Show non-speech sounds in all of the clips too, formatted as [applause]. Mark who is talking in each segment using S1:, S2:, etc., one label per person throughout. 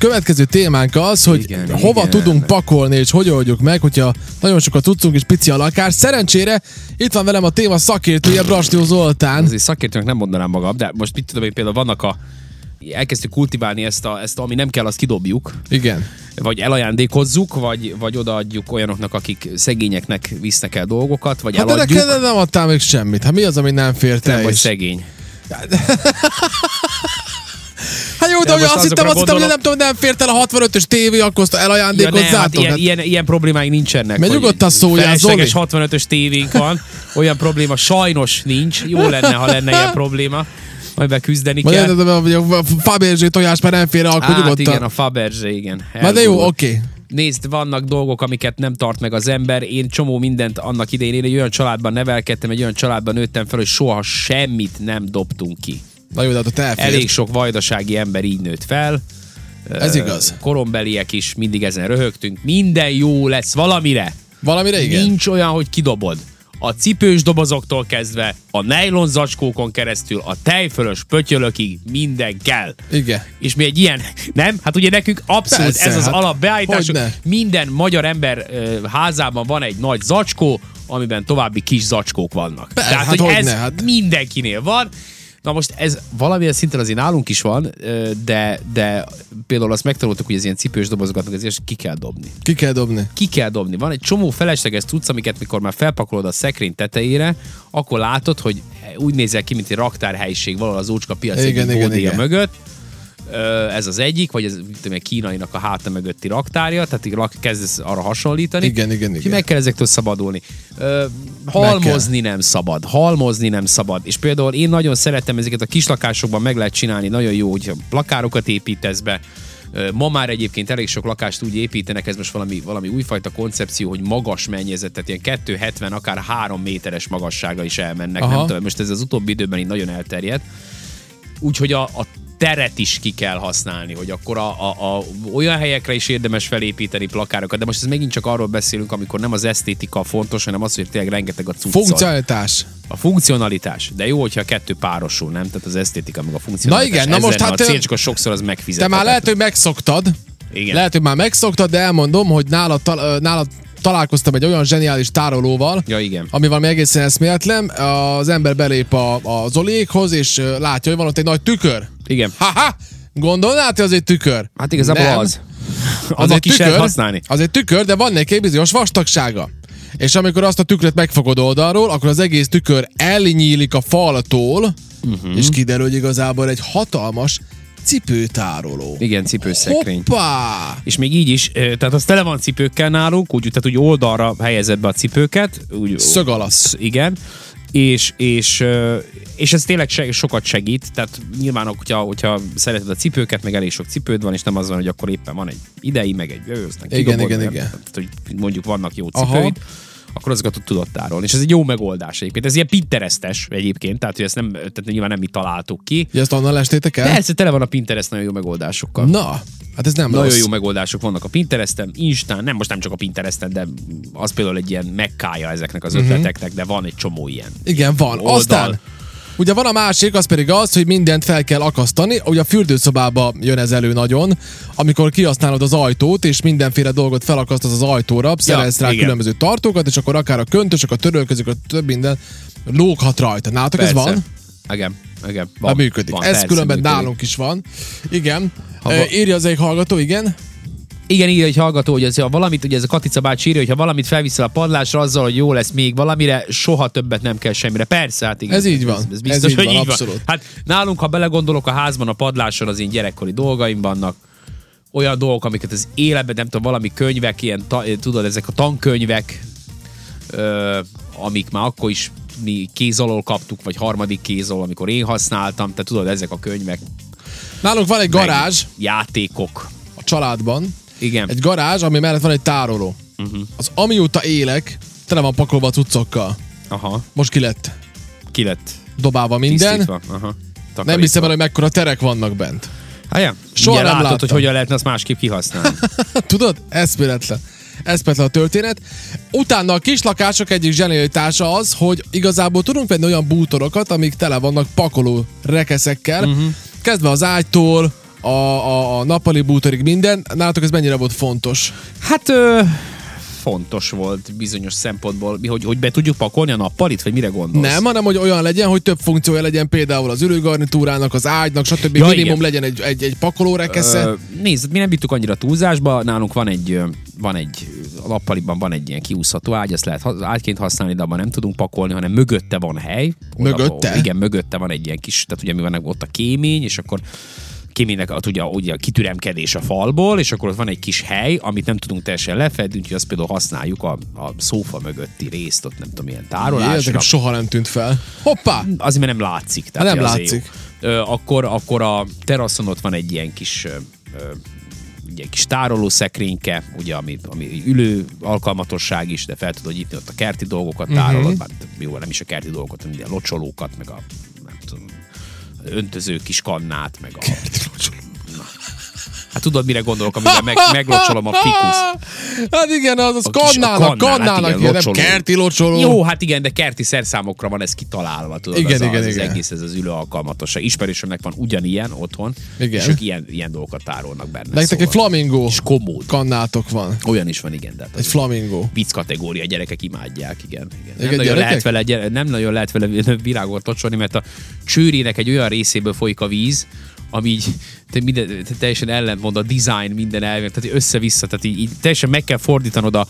S1: Következő témánk az, hogy igen,
S2: Igen,
S1: hova
S2: igen.
S1: tudunk pakolni, és hogy oldjuk meg, hogyha nagyon sokat tudtunk, és pici a lakás. Szerencsére itt van velem a téma szakértője, Brasnió Zoltán.
S2: azért szakértőnek nem mondanám magam, de most mit tudom én, például vannak a elkezdtük kultiválni ezt, a, ezt a, ami nem kell, azt kidobjuk,
S1: Igen.
S2: vagy elajándékozzuk, vagy, vagy odaadjuk olyanoknak, akik szegényeknek visznek el dolgokat, vagy
S1: Hát de
S2: eladjuk,
S1: neked nem adtál még semmit. Hát mi az, ami nem fért
S2: nem
S1: el?
S2: vagy
S1: is?
S2: szegény.
S1: Hát jó, de,
S2: De
S1: hogy
S2: most
S1: azt hittem,
S2: azokra
S1: azt hittem, hogy
S2: gondolok-
S1: nem tudom, nem fért el a 65-ös tévé, akkor azt
S2: Ja, ne, hát
S1: elajándékozzátok.
S2: ilyen,
S1: Hát
S2: ilyen, ilyen problémáink nincsenek.
S1: Mert
S2: hogy
S1: nyugodtan szóljál,
S2: felesleges
S1: Zoli.
S2: 65-ös tévénk van, olyan probléma sajnos nincs, jó lenne, ha lenne ilyen probléma, majd beküzdeni
S1: Vagy
S2: kell.
S1: nem, hogy a Faberzsé tojás már nem fér el, akkor
S2: Hát igen,
S1: nyugodtan.
S2: a Faberge, igen.
S1: Na de jó,
S2: Elgurult.
S1: oké.
S2: Nézd, vannak dolgok, amiket nem tart meg az ember. Én csomó mindent annak idején, én egy olyan családban nevelkedtem, egy olyan családban nőttem fel, hogy soha semmit nem dobtunk ki.
S1: Na jó, de ott
S2: Elég
S1: elfér.
S2: sok vajdasági ember így nőtt fel.
S1: Ez igaz.
S2: Korombeliek is mindig ezen röhögtünk. Minden jó lesz valamire.
S1: Valamire igen.
S2: Nincs olyan, hogy kidobod. A cipős dobozoktól kezdve, a nylon zacskókon keresztül, a tejfölös pötyölökig minden kell.
S1: Igen.
S2: És mi egy ilyen, nem? Hát ugye nekünk abszolút
S1: Persze,
S2: ez az
S1: hát
S2: hát alapbeállításunk.
S1: hogyne.
S2: Minden magyar ember ö, házában van egy nagy zacskó, amiben további kis zacskók vannak.
S1: Persze,
S2: Tehát,
S1: hát
S2: hogy ez
S1: hogyne, hát.
S2: mindenkinél van. Na most ez valamilyen szinten azért nálunk is van, ö, de, de például azt megtanultuk, hogy az ilyen cipős dobozokat, meg ezért ki kell dobni
S1: Ki kell dobni.
S2: ki kell dobni. Van egy csomó felesleges tudsz, amiket mikor már felpakolod a szekrény tetejére, akkor látod, hogy úgy nézel ki, mint egy raktárhelyiség valahol az ócska piac
S1: Igen,
S2: igen,
S1: igen,
S2: igen,
S1: igen.
S2: igen. mögött. Ö, Ez az egyik, vagy ez mit tudom, én, a kínainak a háta mögötti raktárja, tehát így rak- kezdesz arra hasonlítani.
S1: Igen, igen,
S2: Úgyhogy
S1: igen.
S2: Meg kell ezektől szabadulni. Ö, Halmozni nem szabad, halmozni nem szabad. És például én nagyon szeretem ezeket a kislakásokban meg lehet csinálni, nagyon jó, hogyha plakárokat építesz be, Ö, Ma már egyébként elég sok lakást úgy építenek, ez most valami, valami újfajta koncepció, hogy magas mennyezetet, ilyen 270, akár 3 méteres magassága is elmennek.
S1: Aha.
S2: Nem tudom, most ez az utóbbi időben így nagyon elterjedt. Úgyhogy a, a teret is ki kell használni, hogy akkor a, a, a, olyan helyekre is érdemes felépíteni plakárokat, de most ez megint csak arról beszélünk, amikor nem az esztétika a fontos, hanem az, hogy tényleg rengeteg a cuccol.
S1: Funkcionalitás.
S2: A funkcionalitás. De jó, hogyha a kettő párosul, nem? Tehát az esztétika meg a funkcionalitás.
S1: Na igen, na
S2: Ez
S1: most
S2: lenne
S1: hát
S2: A
S1: te-
S2: cél, csak a sokszor az hát,
S1: Te
S2: megfizetetlen.
S1: már lehet, hogy megszoktad.
S2: Igen.
S1: Lehet, hogy már megszoktad, de elmondom, hogy nálad, tal- ö, nálad találkoztam egy olyan zseniális tárolóval,
S2: Ja, igen.
S1: ami valami egészen eszméletlen. Az ember belép a, a Zoliékhoz, és ö, látja, hogy van ott egy nagy tükör.
S2: Igen.
S1: Haha! Gondolnád, hogy az egy tükör?
S2: Hát igazából
S1: Nem.
S2: az. Annak is lehet használni.
S1: Az egy tükör, de van neki egy bizonyos vastagsága. És amikor azt a tükröt megfogod oldalról, akkor az egész tükör elnyílik a faltól,
S2: Mhm.
S1: uh-huh. és kiderül, hogy igazából egy hatalmas cipőtároló.
S2: Igen, cipőszekrény.
S1: Hoppá!
S2: És még így is, ö, tehát az tele van cipőkkel nálunk, úgy, tehát úgy oldalra helyezed be a cipőket. Úgy,
S1: Szög alatt.
S2: igen, és, és, ö, és ez tényleg se- sokat segít, tehát nyilván, hogyha, hogyha szereted a cipőket, meg elég sok cipőd van, és nem az van, hogy akkor éppen van egy idei, meg egy jövő, aztán
S1: Igen,
S2: kidobod,
S1: igen,
S2: mert-
S1: igen.
S2: Tehát, hogy mondjuk vannak jó
S1: Aha.
S2: cipőid, akkor azokat ott tudod tárolni. És ez egy jó megoldás egyébként. Ez ilyen pinterestes egyébként, tehát hogy ezt nem, tehát nyilván nem mi találtuk ki.
S1: Ugye ezt onnan lestétek el?
S2: Persze, tele van a Pinterest nagyon jó megoldásokkal.
S1: Na, hát ez nem
S2: Nagyon
S1: rossz.
S2: jó megoldások vannak a Pinteresten, Instán, nem most nem csak a Pinteresten, de az például egy ilyen mekkája ezeknek
S1: Mhm.
S2: az ötleteknek, de van egy csomó ilyen.
S1: Igen, van.
S2: Oldal.
S1: Aztán Ugye van a másik, az pedig az, hogy mindent fel kell akasztani. Ugye a fürdőszobába jön ez elő nagyon, amikor kihasználod az ajtót, és mindenféle dolgot felakasztasz az ajtóra, szerez rá
S2: igen.
S1: különböző tartókat, és akkor akár a köntösök, a törölközök, a több minden lóghat rajta. Nálatok ez van?
S2: Igen, igen. Van,
S1: Na, működik.
S2: Van,
S1: ez
S2: persze,
S1: különben
S2: működik.
S1: nálunk is van. Igen.
S2: Ha
S1: Ö,
S2: va-
S1: Írja az egyik hallgató, igen.
S2: Igen, írja egy hallgató, hogy az, ha valamit, ugye ez a Katica bácsi írja, hogy ha valamit felviszel a padlásra azzal, hogy jó lesz még valamire, soha többet nem kell semmire. Persze, hát igen.
S1: Ez így van.
S2: Ez,
S1: Ez
S2: ez biztos,
S1: így
S2: hogy
S1: van,
S2: így
S1: abszolút.
S2: van. Hát nálunk, ha belegondolok a házban, a padláson az én gyerekkori dolgaim vannak, olyan dolgok, amiket az életben, nem tudom, valami könyvek, ilyen, ta, tudod, ezek a tankönyvek, ö, amik már akkor is mi kéz alól kaptuk, vagy harmadik kéz alól, amikor én használtam, te tudod, ezek a könyvek.
S1: Nálunk van egy
S2: meg
S1: garázs
S2: Játékok.
S1: a családban,
S2: Igen. Mhm.
S1: Egy garázs, ami mellett van egy tároló. Uh-huh. Az amióta élek, tele van pakolva a cuccokkal.
S2: Aha,
S1: Most ki lett
S2: ki lett
S1: dobálva minden.
S2: Tisztítva. Aha.
S1: Nem hiszem el, hogy mekkora terek vannak bent. [laughs]
S2: Hát, ja.
S1: Soha
S2: Soha
S1: nem
S2: nem látod,
S1: láttam.
S2: hogy hogyan lehetne azt másképp
S1: [laughs]
S2: kihasználni.
S1: Tudod? Eszméletlen. Eszméletlen a történet. Utána a kislakások egyik zsenialitása az, hogy igazából tudunk venni
S2: Mhm.
S1: olyan bútorokat, amik tele vannak pakoló rekeszekkel, uh-huh. kezdve az ágytól, a, a, a nappali bútorig minden. Nálatok ez mennyire volt fontos?
S2: Hát ö, fontos volt bizonyos szempontból, hogy, hogy be tudjuk pakolni a nappalit, vagy mire gondolsz?
S1: Nem, hanem hogy olyan legyen, hogy több funkciója legyen például az ülőgarnitúrának, az ágynak, stb.
S2: Ja,
S1: Ja, Minimum
S2: igen.
S1: legyen egy, egy, egy pakolórekesze.
S2: Ö, nézd, mi nem vittük annyira túlzásba, nálunk van egy, ö, van egy, a nappaliban van egy ilyen kiúszható ágy, ezt lehet ha- ágyként használni, de abban nem tudunk pakolni, hanem mögötte van hely.
S1: Mögötte?
S2: ahol- igen, mögötte van egy ilyen kis, tehát ugye mi van ott a kémény, és akkor kéménynek ott ugye, ugye a kitüremkedés a falból, és akkor ott van egy kis hely, amit nem tudunk teljesen lefedni, úgyhogy azt például használjuk a, a szófa mögötti részt, ott nem tudom, ilyen
S1: Jé, ez
S2: tárolásra.
S1: nekem soha nem tűnt fel. Hoppá!
S2: Azért, mert nem látszik. Tehát
S1: Hát nem
S2: azért
S1: látszik.
S2: jó. Ö, akkor, akkor a teraszon ott van egy ilyen kis ö, ö, egy ilyen kis tároló szekrényke, ugye, ami, ami ülő alkalmatosság is, de fel tudod nyitni ott a kerti dolgokat,
S1: Mhm.
S2: tárolod, mm-hmm. bár jó, nem is a kerti dolgokat, hanem a locsolókat, meg a nem tudom, öntöző kis kannát, meg
S1: [laughs]
S2: a... Hát tudod, mire gondolok, amikor meg, meglocsolom a fikuszt.
S1: Hát igen, az, az
S2: A kis- a
S1: kannának,
S2: kannál, hát
S1: kannának,
S2: igen,
S1: ilyen, nem
S2: locsoló.
S1: kerti locsoló.
S2: Jó, hát igen, de kerti szerszámokra van ez kitalálva, tudod,
S1: Igen,
S2: igen, ez,
S1: igen,
S2: igen, a, ez
S1: igen.
S2: az egész, ez az ülő alkalmatosság. Ismerősömnek van ugyanilyen otthon,
S1: Igen.
S2: igen. és ők ilyen, ilyen dolgokat tárolnak benne.
S1: Nektek egy flamingó
S2: Szóval. És komód.
S1: kannátok van.
S2: Olyan is van, igen, de hát
S1: Egy
S2: az
S1: flamingó.
S2: vicc kategória, gyerekek imádják, igen. igen.
S1: Igen,
S2: Nem, nagyon
S1: gyerekek?
S2: lehet vele, gyere, nem nagyon lehet vele [laughs] virágot locsolni, mert a csőrének egy olyan részéből folyik a víz, ami így te minden, te teljesen ellentmond a design minden elvének, tehát így össze-vissza, tehát így, így teljesen meg kell fordítanod a,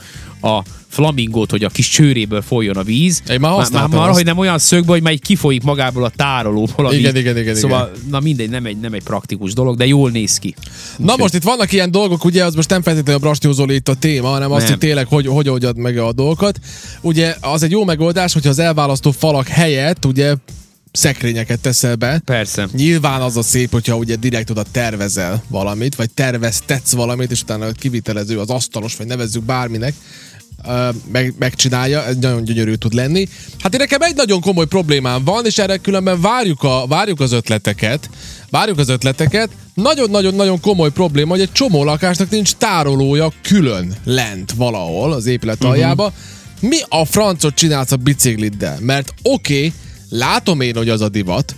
S2: a flamingót, hogy a kis csőréből folyjon a víz.
S1: Én már
S2: már,
S1: használtam
S2: már
S1: azt.
S2: hogy nem olyan szögből, hogy már így kifolyik magából a tárolóból. a
S1: Igen,
S2: víz.
S1: igen, igen,
S2: Szóval, na mindegy, nem egy, nem egy praktikus dolog, de jól néz ki.
S1: Na most itt vannak ilyen dolgok, ugye az most nem feltétlenül a Brasnyó Zoli itt a téma, hanem azt,
S2: Nem.
S1: hogy tényleg hogy, hogy oldjad meg a dolgokat. Ugye az egy jó megoldás, hogyha az elválasztó falak helyett ugye szekrényeket teszel be.
S2: Persze.
S1: Nyilván az a szép, hogyha ugye direkt oda tervezel valamit, vagy terveztetsz valamit, és utána a kivitelező, az asztalos, vagy nevezzük bárminek, ö, meg, megcsinálja, ez nagyon gyönyörű tud lenni. Hát én nekem egy nagyon komoly problémám van, és erre különben várjuk, a, várjuk az ötleteket, várjuk az ötleteket. Nagyon-nagyon-nagyon komoly probléma, hogy egy csomó lakásnak nincs tárolója külön lent valahol az épület aljába. Uh-huh. Mi a francot csinálsz a bicikliddel? Mert oké, okay, látom én, hogy az a divat,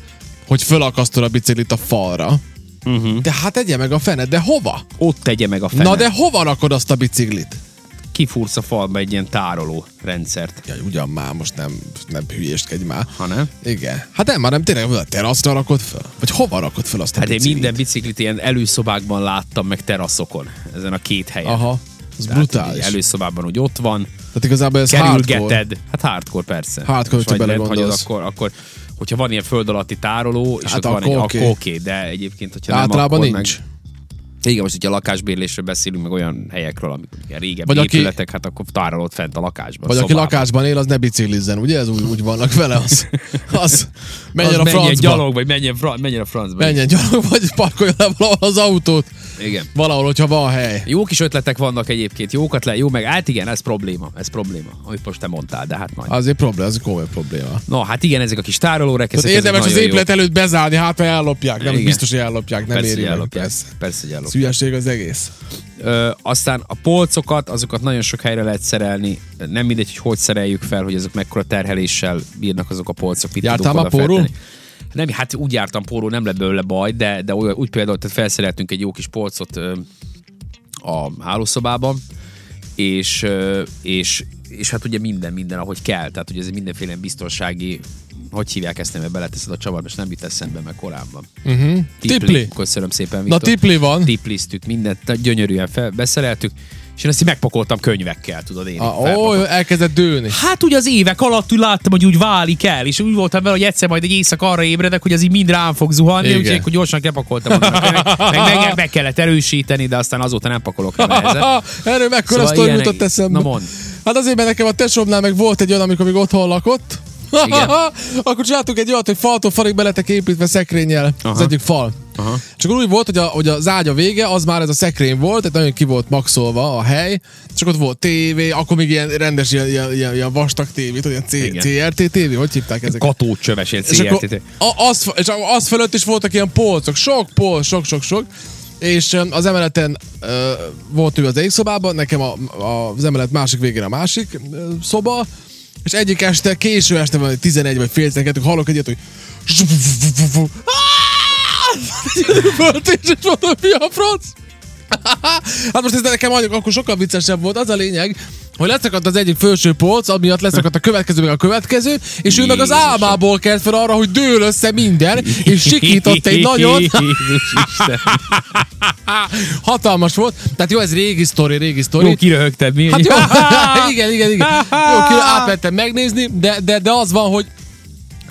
S1: hogy fölakasztod a biciklit a falra,
S2: Mhm.
S1: uh-huh. de hát tegye meg a fened, de hova?
S2: Ott tegye meg a fenet.
S1: Na de hova rakod azt a biciklit?
S2: kifúrsz a falba egy ilyen tároló rendszert.
S1: Ja, ugyan már, most nem, nem hülyéskedj már.
S2: Ha nem?
S1: Igen. Hát nem, már nem tényleg a teraszra rakod föl? Vagy hova rakod föl azt a
S2: Hát én
S1: biciklit?
S2: minden biciklit ilyen előszobákban láttam, meg teraszokon, ezen a két helyen.
S1: Aha, ez
S2: Tehát,
S1: brutális.
S2: hogy
S1: Elő...
S2: Előszobában úgy ott van,
S1: Tehát igazából ez hardcore.
S2: hát kerülgeted. Hát hardcore persze.
S1: Hardcore,
S2: Most
S1: hogyha
S2: vagy lent
S1: belegondolsz.
S2: hagyod, akkor, akkor, hogyha van ilyen föld alatti tároló, és
S1: Hát
S2: hát ott van egy,
S1: akkor
S2: akkor
S1: oké.
S2: oké, de egyébként, hogyha
S1: Általában
S2: nem, akkor
S1: nincs.
S2: Meg... Igen, most ugye a lakásbérlésről beszélünk, meg olyan helyekről, amik ugye régebbi
S1: Vagy aki-
S2: épületek, hát akkor tárolod fent a lakásban.
S1: Vagy aki
S2: szobában.
S1: lakásban él, az ne biciklizzen, ugye? Ez úgy, úgy vannak vele,
S2: [laughs]
S1: az, az menjen
S2: Az
S1: a francba.
S2: menjen gyalog, vagy menjen, fra- menjen a francba.
S1: Menjen gyalog, vagy parkolja le valahol az autót.
S2: Igen.
S1: Valahol, hogyha van hely.
S2: Jó kis ötletek vannak egyébként, jókat le, jó meg, hát igen, ez probléma, ez probléma, amit most te mondtál, de hát majd.
S1: Azért probléma, az egy komoly probléma.
S2: Na, hát igen, ezek a kis tárolórekeszek,
S1: Tehát
S2: ezek
S1: Hát érdemes az
S2: nagyon jók.
S1: épület előtt bezárni, hát ha ellopják. Nem,
S2: Igen.
S1: biztos, hogy ellopják, nem
S2: persze,
S1: éri
S2: hogy
S1: meg.
S2: ellopják.
S1: Persze.
S2: Persze, hogy
S1: Ez
S2: ellopják.
S1: Hülyeség az egész.
S2: Ö, aztán a polcokat, azokat nagyon sok helyre lehet szerelni, nem mindegy, hogy hogy szereljük fel, hogy azok mekkora terheléssel bírnak azok a polcok. Mit
S1: Jártál
S2: tudunk
S1: már
S2: oda
S1: pórul?
S2: feltenni. Nem, hát úgy jártam póró, nem lett belőle baj, de, de úgy, úgy például, tehát felszereltünk egy jó kis polcot ö, a hálószobában, és, ö, és, és hát ugye minden, minden, ahogy kell. Tehát ugye ez egy mindenféle biztonsági, hogy hívják ezt, nem, mert beleteszed a csavarba, és nem jut eszembe, mert korábban. Uh-huh.
S1: Mhm. Tipli.
S2: Köszönöm szépen,
S1: Na,
S2: Viktor.
S1: tipli van.
S2: tipliztük mindent, tehát gyönyörűen fel, beszereltük, és én ezt így megpakoltam könyvekkel, tudod én. így
S1: Ah,
S2: felpakoltam.
S1: ó, elkezdett dőlni.
S2: Hát ugye az évek alatt úgy láttam, hogy úgy válik el, és úgy voltam vele, hogy egyszer majd egy éjszaka arra ébredek, hogy az így mind rám fog zuhanni,
S1: Igen.
S2: úgyhogy akkor gyorsan lepakoltam. Meg, meg,
S1: [laughs]
S2: meg, meg, kellett erősíteni, de aztán azóta nem pakolok rá nehezen.
S1: Ha, [laughs] Erről mekkora
S2: Szóval
S1: szóval sztori
S2: ilyenek-
S1: jutott eszembe.
S2: Na mondd.
S1: Hát azért, mert nekem a tesómnál meg volt egy olyan, amikor még otthon lakott.
S2: Igen.
S1: [laughs] akkor csináltuk egy olyat, hogy faltól falig beletek építve szekrényel Aha. az
S2: Aha.
S1: egyik fal. Aha. Csak úgy volt, hogy, a, hogy az ágya vége, az már ez a szekrény volt, tehát nagyon ki volt maxolva a hely, csak ott volt tévé, akkor még ilyen rendes, ilyen, ilyen, ilyen, ilyen vastag tévé, tudod, ilyen C-
S2: Igen.
S1: CRT tévé, hogy hívták ezeket?
S2: Katócsöves, ilyen
S1: És akkor,
S2: CRT.
S1: a, az, és akkor az fölött is voltak ilyen polcok, sok polc, sok-sok-sok, és öm, az emeleten ö, volt ő az egyik szobában, nekem a, a, az emelet másik végén a másik ö, szoba, és egyik este, késő este van, 11 vagy fél 12, hallok egyet, hogy Volt és mondom, mi a franc? [laughs] hát most ez nekem mondjuk, akkor sokkal viccesebb volt. Az a lényeg, hogy leszakadt az egyik felső polc, amiatt leszakadt a következő, meg a következő, és ő meg az
S2: Jézusom.
S1: álmából kelt fel arra, hogy dől össze minden, és sikított
S2: [laughs]
S1: egy nagyon [laughs]
S2: Jézus Isten.
S1: hatalmas volt. Tehát jó, ez régi sztori, régi sztori.
S2: Jó, kiröhögted mi? [laughs]
S1: Hát jó, [laughs] igen, igen, igen. Jó, kire átmentem megnézni, de, de, de az van, hogy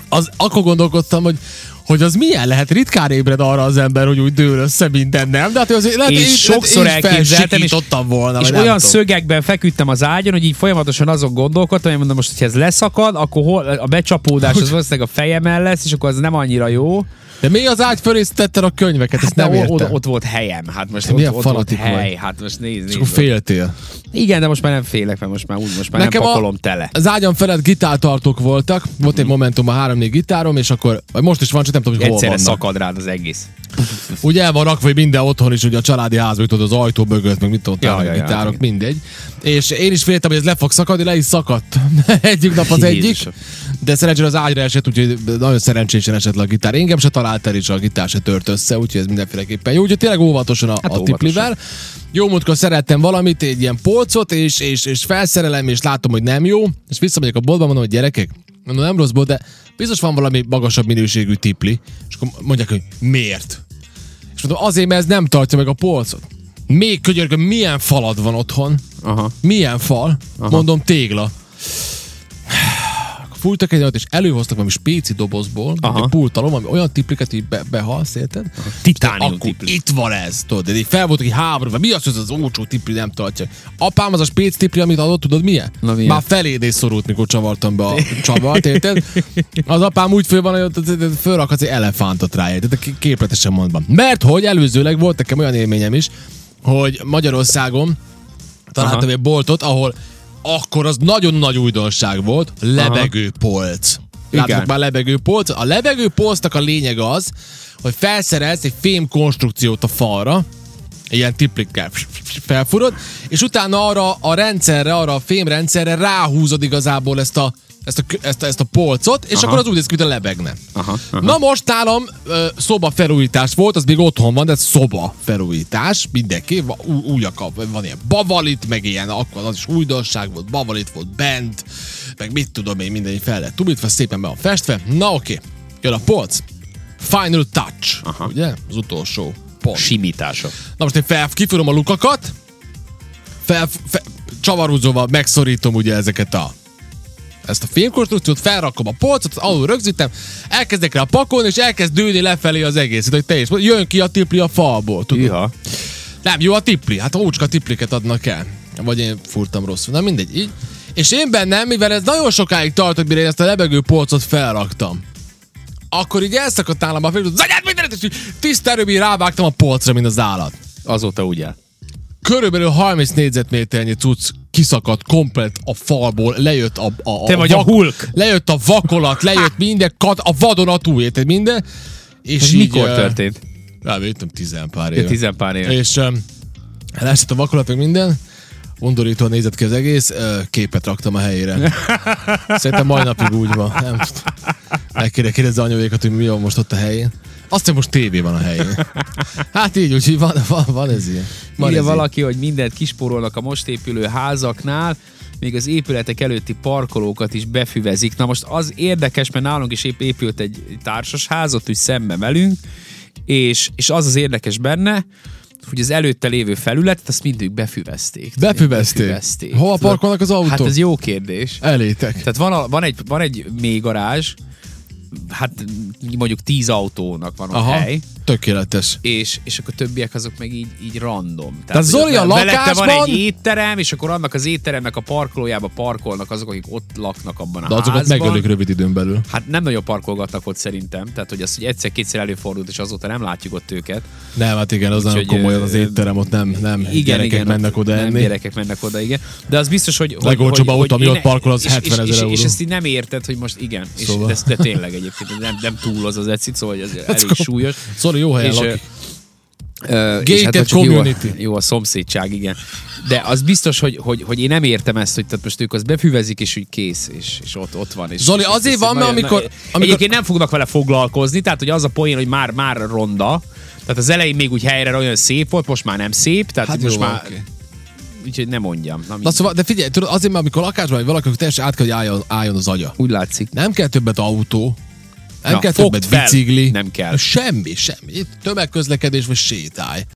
S1: az, akkor gondolkodtam, hogy hogy az milyen lehet, ritkán ébred arra az ember, hogy úgy dől össze minden, nem? De hát ő azért lehet,
S2: És
S1: én-
S2: sokszor
S1: én is
S2: elképzeltem, és-
S1: felsikítottam volna,
S2: és
S1: vagy nem
S2: olyan
S1: tudom.
S2: szögekben feküdtem az ágyon, hogy így folyamatosan azon gondolkodtam, hogy mondom, most, hogyha ez leszakad, akkor hol, a becsapódás az valószínűleg a fejemmel lesz, és akkor az nem annyira jó.
S1: De mi az ágy fölé tetted a könyveket, ezt
S2: Hát De
S1: Hát nem
S2: o-
S1: értem.
S2: ott, ott volt helyem, hát most
S1: Te
S2: ott,
S1: milyen
S2: ott volt
S1: fanatik
S2: hely,
S1: vagy.
S2: hát most nézd,
S1: És
S2: nézd
S1: akkor féltél.
S2: Igen, de most már nem félek, mert most már úgy, most már Nekem nem pakolom a... tele. Mhm.
S1: az ágyam felett gitártartók voltak, volt egy momentum a három-négy gitárom, és akkor, vagy most is van, csak nem tudom, hogy hol
S2: Egyszerre
S1: vannak.
S2: szakad rád az egész.
S1: Ugye el van rakva, hogy minden otthon is, ugye a családi házba jutod az ajtó mögött, meg mit tudom,
S2: Ja,
S1: ja,
S2: ja,
S1: ja,
S2: ja,
S1: gitárok,
S2: igen.
S1: mindegy. És én is féltem, hogy ez le fog szakadni, le is szakadt. [laughs] Egyik nap az
S2: Jézusom.
S1: egyik, de szerencsére az ágyra esett, úgyhogy nagyon szerencsésen esett le a gitár. Engem se talált el, és a gitár se tört össze, úgyhogy ez mindenféleképpen jó. Úgyhogy tényleg óvatosan a, hát a
S2: óvatosan.
S1: tiplivel. Jó múltkor szerettem valamit, egy ilyen polcot, és, és, és felszerelem, és látom, hogy nem jó, és visszamegyek a boltba, mondom, hogy gyerekek, mondom, nem rossz bolt, de biztos van valami magasabb minőségű tipli, és akkor mondják, hogy miért? És mondom, azért, mert ez nem tartja meg a polcot. Még könyörgöm, milyen falad van otthon?
S2: Aha.
S1: Milyen fal? Aha. Mondom, tégla. Akkor Fújtak egy nagyot, és előhoztak valami spéci dobozból,
S2: Aha.
S1: Aha. egy pultalom, ami olyan tipliket így be, behalsz, érted?
S2: Titánium
S1: Akkor
S2: tipli.
S1: itt van ez, tudod, de így fel voltak egy háborúban, mi az, hogy ez az olcsó tipli nem tartja? Apám az a spéci tipli, amit adott, tudod milyen?
S2: Na, milyen?
S1: Már felédés szorult, mikor csavartam be a csavart, érted? Az apám úgy föl van, hogy ott- ott fölrakhatsz egy elefántot rá, érted? K- Képletesen mondva. Mert hogy előzőleg volt nekem olyan élményem is, hogy Magyarországon találtam
S2: Aha.
S1: egy boltot, ahol akkor az nagyon nagy újdonság volt, lebegőpolc.
S2: Igen.
S1: Látok már lebegőpolc. A lebegőpolcnak a lényeg az, hogy felszerelsz egy fém konstrukciót a falra, ilyen tiplikkel felfurod, és utána arra a rendszerre, arra a fémrendszerre ráhúzod igazából ezt a, ezt a, ezt a, ezt a polcot, és
S2: Aha.
S1: aha. akkor az úgy néz ki, mint a lebegne.
S2: Aha, aha.
S1: Na most nálam ö, szoba felújítás volt, az még otthon van, de ez szoba felújítás, mindenki, va- ú- új a kap, van ilyen bavalit, meg ilyen, akkor az is újdonság volt, bavalit volt bent, meg mit tudom én, minden így fel lett tubítva, szépen be van festve. Na oké, jön a polc. Final touch,
S2: Aha.
S1: Aha. ugye? Az utolsó pont.
S2: Simítása.
S1: Na most én fel, kifúrom a lukakat, fel, fel, csavarúzóval megszorítom ugye ezeket a ezt a filmkonstrukciót, felrakom a polcot, az alul rögzítem, elkezdek rá pakolni, és elkezd dőlni lefelé az egészet, hogy te is mondod, jön ki a tipli a falból, tudod?
S2: Iha.
S1: Nem, jó a tipli, hát ócska tipliket adnak el. Vagy én furtam rosszul, na mindegy, így. És én bennem, mivel ez nagyon sokáig tartott, mire én ezt a lebegő polcot felraktam, akkor így elszakadt nálam a fél, hogy zagyád mindent, és így tiszta erőbí rávágtam a polcra, mint az állat
S2: Azóta úgy áll.
S1: körülbelül 30 négyzetméternyi cucc kiszakadt komplet a falból, lejött a, a, a
S2: Te vagy a Hulk.
S1: Lejött a vakolat, lejött minden, kat, a vadonatúj, érted minden. És
S2: És
S1: így,
S2: mikor
S1: ö,
S2: történt?
S1: Nem, értem, tizen pár
S2: Ja,
S1: éve.
S2: Tizen pár éve.
S1: És um, leesett a vakolat, meg minden. Undorító nézett ki az egész, ö, képet raktam a
S2: [laughs]
S1: helyére. Szerintem mai napig úgy van. Nem tudom. Meg kéne kérdezni anyóékat, hogy mi van most ott a helyén. Azt hiszem, most tévé van a helyén. Hát így, úgyhogy van, van, van ez ilyen. Van
S2: Írja
S1: ez ilyen.
S2: valaki, hogy mindent kispórolnak a most épülő házaknál, még az épületek előtti parkolókat is befüvezik. Na most az érdekes, mert nálunk is épp épült egy társas ház, ott úgy szembe velünk, és, és az az érdekes benne, hogy az előtte lévő felületet, azt mindig befüvezték.
S1: Befüvezték. Hova
S2: Tudod,
S1: parkolnak az autók?
S2: Hát ez jó kérdés.
S1: Elétek.
S2: Tehát van, a, van, egy, van egy mély garázs, hát mondjuk tíz autónak van ott Aha. hely,
S1: Tökéletes.
S2: és, és akkor többiek azok meg így, így random. Tehát,
S1: Tehát Zoli
S2: hogy
S1: a
S2: velette van
S1: lakásban-
S2: egy étterem, és akkor annak az étteremnek a parkolójába parkolnak azok, akik ott laknak abban a
S1: De azokat
S2: házban.
S1: megölik rövid időn belül.
S2: Hát nem nagyon parkolgatnak ott szerintem, tehát hogy az, hogy egyszer-kétszer előfordult, és azóta nem látjuk ott őket.
S1: Nem, hát igen, az nagyon
S2: Úgyhogy,
S1: komoly
S2: ö,
S1: az étterem, ott nem, nem igen, gyerekek igen,
S2: ott
S1: mennek oda
S2: nem,
S1: enni.
S2: Gyerekek mennek oda, igen. De az biztos, hogy... hogy-
S1: Legolcsóbb
S2: hogy-
S1: autó,
S2: hogy
S1: ami
S2: én-
S1: ott parkol, az
S2: és-
S1: 70 000
S2: és, és,
S1: euró.
S2: és, ezt így nem érted, hogy most igen. És
S1: Szóval.
S2: de, de tényleg egyébként nem, nem túl az az ecit, szóval hogy ez elég
S1: komoly.
S2: súlyos.
S1: Szóval jó helyen
S2: És, ö,
S1: lakik.
S2: Ö, és
S1: Gated
S2: hát, ha csak Jó, a-
S1: community.
S2: jó a szomszédság, igen. De az biztos, hogy, hogy, hogy én nem értem ezt, hogy tehát most ők az befüvezik, és úgy kész, és, és ott, ott van. És,
S1: Zoli,
S2: és
S1: azért
S2: ezt- ezt
S1: van, mert
S2: nagyon-
S1: amikor-
S2: nagyon-
S1: amikor-
S2: Egyébként nem fognak vele foglalkozni, tehát hogy az a poén, hogy már, már ronda, tehát az elején még úgy helyre olyan szép volt, most már nem szép, tehát
S1: Hát
S2: most
S1: jó,
S2: már...
S1: oké.
S2: Úgyhogy nem mondjam. Na,
S1: Na
S2: mindegy.
S1: szóval, de figyelj, tudod, azért, mert amikor lakásban vagy valaki, akkor teljesen át kell, hogy álljon, álljon az agya.
S2: Úgy látszik.
S1: Nem kell többet autó, nem
S2: Na,
S1: kell
S2: fogd
S1: többet
S2: fel.
S1: bicikli.
S2: Nem kell.
S1: Semmi, semmi. Itt tömegközlekedés vagy sétáj.